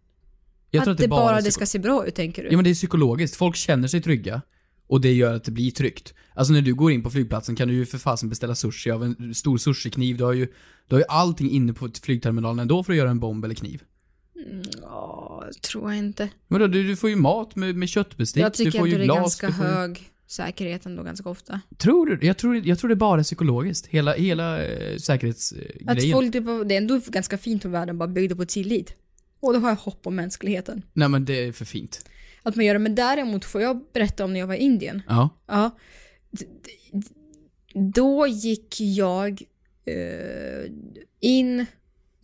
Speaker 8: Jag
Speaker 9: att,
Speaker 8: tror
Speaker 9: det bara
Speaker 8: är
Speaker 9: det
Speaker 8: psyko-
Speaker 9: ska se bra ut tänker du?
Speaker 8: Ja men det är psykologiskt. Folk känner sig trygga. Och det gör att det blir tryggt. Alltså när du går in på flygplatsen kan du ju för fasen beställa sushi av en stor sushikniv. Du har ju, du har ju allting inne på flygterminalen ändå för att göra en bomb eller kniv.
Speaker 9: Mm, Ja, tror jag inte.
Speaker 8: Men då, du, du får ju mat med, med köttbestick,
Speaker 9: jag
Speaker 8: du
Speaker 9: tycker
Speaker 8: får
Speaker 9: att
Speaker 8: ju
Speaker 9: det är
Speaker 8: glas,
Speaker 9: ganska
Speaker 8: du får ju...
Speaker 9: hög säkerhet ändå ganska ofta.
Speaker 8: Tror du? Jag tror, jag tror det bara är psykologiskt. Hela, hela eh,
Speaker 9: Att
Speaker 8: säkerhetsgrejen.
Speaker 9: folk, typ, av- det är ändå ganska fint om världen bara byggde på tillit. Och då har jag hopp om mänskligheten.
Speaker 8: Nej men det är för fint.
Speaker 9: Att man gör det, men däremot får jag berätta om när jag var i Indien.
Speaker 8: Ja.
Speaker 9: Ja. D- d- Då gick jag eh, in,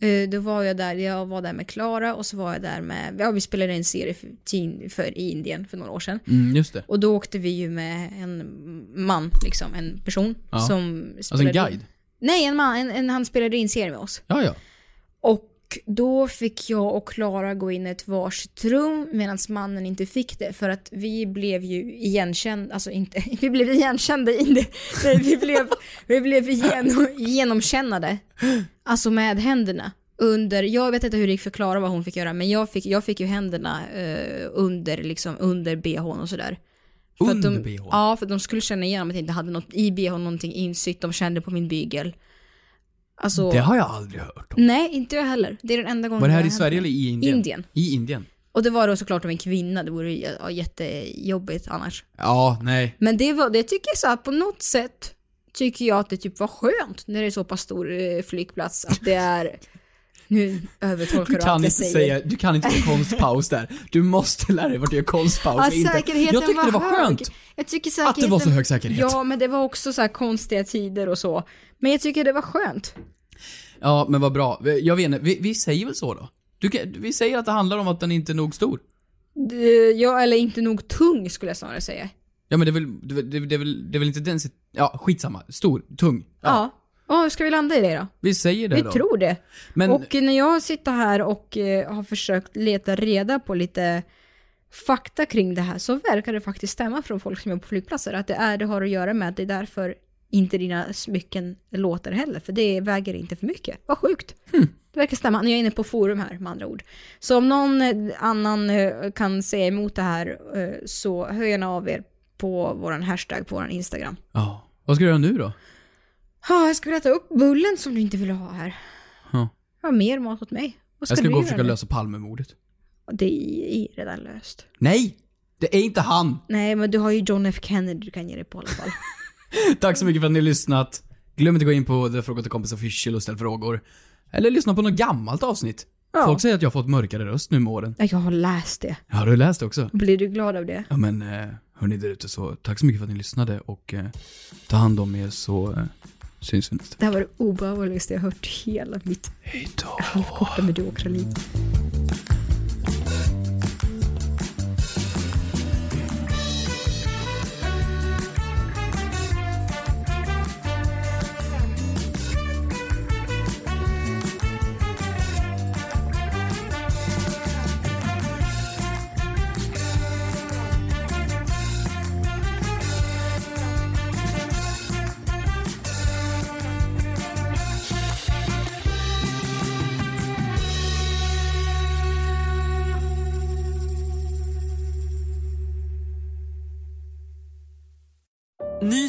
Speaker 9: eh, då var jag där, jag var där med Klara och så var jag där med, ja vi spelade en serie för, till- för i Indien för några år sedan.
Speaker 8: Mm, just det.
Speaker 9: Och då åkte vi ju med en man, liksom en person
Speaker 8: Ja.
Speaker 9: som
Speaker 8: Alltså en guide?
Speaker 9: Nej, en man, en, en, han spelade in serie med oss.
Speaker 8: Ja, ja.
Speaker 9: Och då fick jag och Klara gå in i ett varsitt rum medan mannen inte fick det för att vi blev ju igenkända, alltså inte, (laughs) vi blev igenkända i det, nej vi blev, vi blev igenom, genomkännade, alltså med händerna. Under, jag vet inte hur det gick för Klara vad hon fick göra men jag fick, jag fick ju händerna eh, under, liksom, under bhn och sådär. För att de,
Speaker 8: Under bhn?
Speaker 9: Ja, för att de skulle känna igenom att jag inte hade något i bhn, någonting insytt, de kände på min bygel. Alltså,
Speaker 8: Det har jag aldrig hört.
Speaker 9: Nej, inte jag heller. Det är den enda gången
Speaker 8: Var det här
Speaker 9: har
Speaker 8: i
Speaker 9: hänt
Speaker 8: Sverige
Speaker 9: mig.
Speaker 8: eller i Indien?
Speaker 9: Indien.
Speaker 8: I Indien.
Speaker 9: Och det var då såklart av en kvinna, det vore ju ja, jättejobbigt annars.
Speaker 8: Ja, nej.
Speaker 9: Men det, var, det tycker jag så här, på något sätt tycker jag att det typ var skönt när det är så pass stor eh, flygplats att
Speaker 8: (laughs)
Speaker 9: det är... Nu övertolkar
Speaker 8: Du
Speaker 9: du, allt
Speaker 8: kan
Speaker 9: jag
Speaker 8: inte
Speaker 9: säger.
Speaker 8: säga, du kan inte få konstpaus där. Du måste lära dig vart du gör konstpaus
Speaker 9: Ja,
Speaker 8: och inte.
Speaker 9: säkerheten
Speaker 8: Jag tyckte det var
Speaker 9: hög.
Speaker 8: skönt.
Speaker 9: Jag tycker säkerheten...
Speaker 8: Att det var så hög säkerhet.
Speaker 9: Ja, men det var också så här konstiga tider och så. Men jag tycker det var skönt.
Speaker 8: Ja, men vad bra. Jag vet inte, vi, vi säger väl så då? Du kan, vi säger att det handlar om att den inte är nog stor.
Speaker 9: Eh, Ja, eller inte nog tung skulle jag snarare säga.
Speaker 8: Ja men det är väl, det, är väl- det, är väl- det, är väl- det är väl inte den sit- Ja, skitsamma. Stor, tung.
Speaker 9: Ja. ja. hur ska vi landa i det då?
Speaker 8: Vi säger det
Speaker 9: Vi
Speaker 8: då.
Speaker 9: tror det.
Speaker 8: Men-
Speaker 9: Och när jag sitter här och eh, har försökt leta reda på lite fakta kring det här så verkar det faktiskt stämma från folk som är på flygplatser att det är det har att göra med att det är därför inte dina smycken låter heller för det väger inte för mycket. Vad sjukt. Det verkar stämma. Nu är jag inne på forum här med andra ord. Så om någon eh, annan eh, kan säga emot det här eh, så hör gärna av er på våran hashtag på våran Instagram.
Speaker 8: Ja. Vad ska du göra nu då?
Speaker 9: Ja, jag ska väl äta upp bullen som du inte ville ha här.
Speaker 8: Ja.
Speaker 9: Jag har mer mat åt mig. Vad
Speaker 8: jag ska
Speaker 9: du
Speaker 8: gå och
Speaker 9: göra
Speaker 8: försöka
Speaker 9: nu?
Speaker 8: lösa Palmemordet.
Speaker 9: Det är redan löst.
Speaker 8: Nej! Det är inte han!
Speaker 9: Nej, men du har ju John F Kennedy du kan ge dig på i alla
Speaker 8: (laughs)
Speaker 9: fall.
Speaker 8: Tack så mycket för att ni har lyssnat. Glöm inte gå in på The Fråga till Kompis official och ställ frågor. Eller lyssna på något gammalt avsnitt.
Speaker 9: Ja.
Speaker 8: Folk säger att jag har fått mörkare röst nu med åren.
Speaker 9: Ja, jag har läst det.
Speaker 8: Ja, har du läst det också?
Speaker 9: Blir du glad av det?
Speaker 8: Ja men eh, hörni där ute så tack så mycket för att ni lyssnade och eh, ta hand om er så eh, syns vi nästa
Speaker 9: Det här var det obehagligaste jag hört i hela mitt halvkorta mediokra liv.
Speaker 1: Ny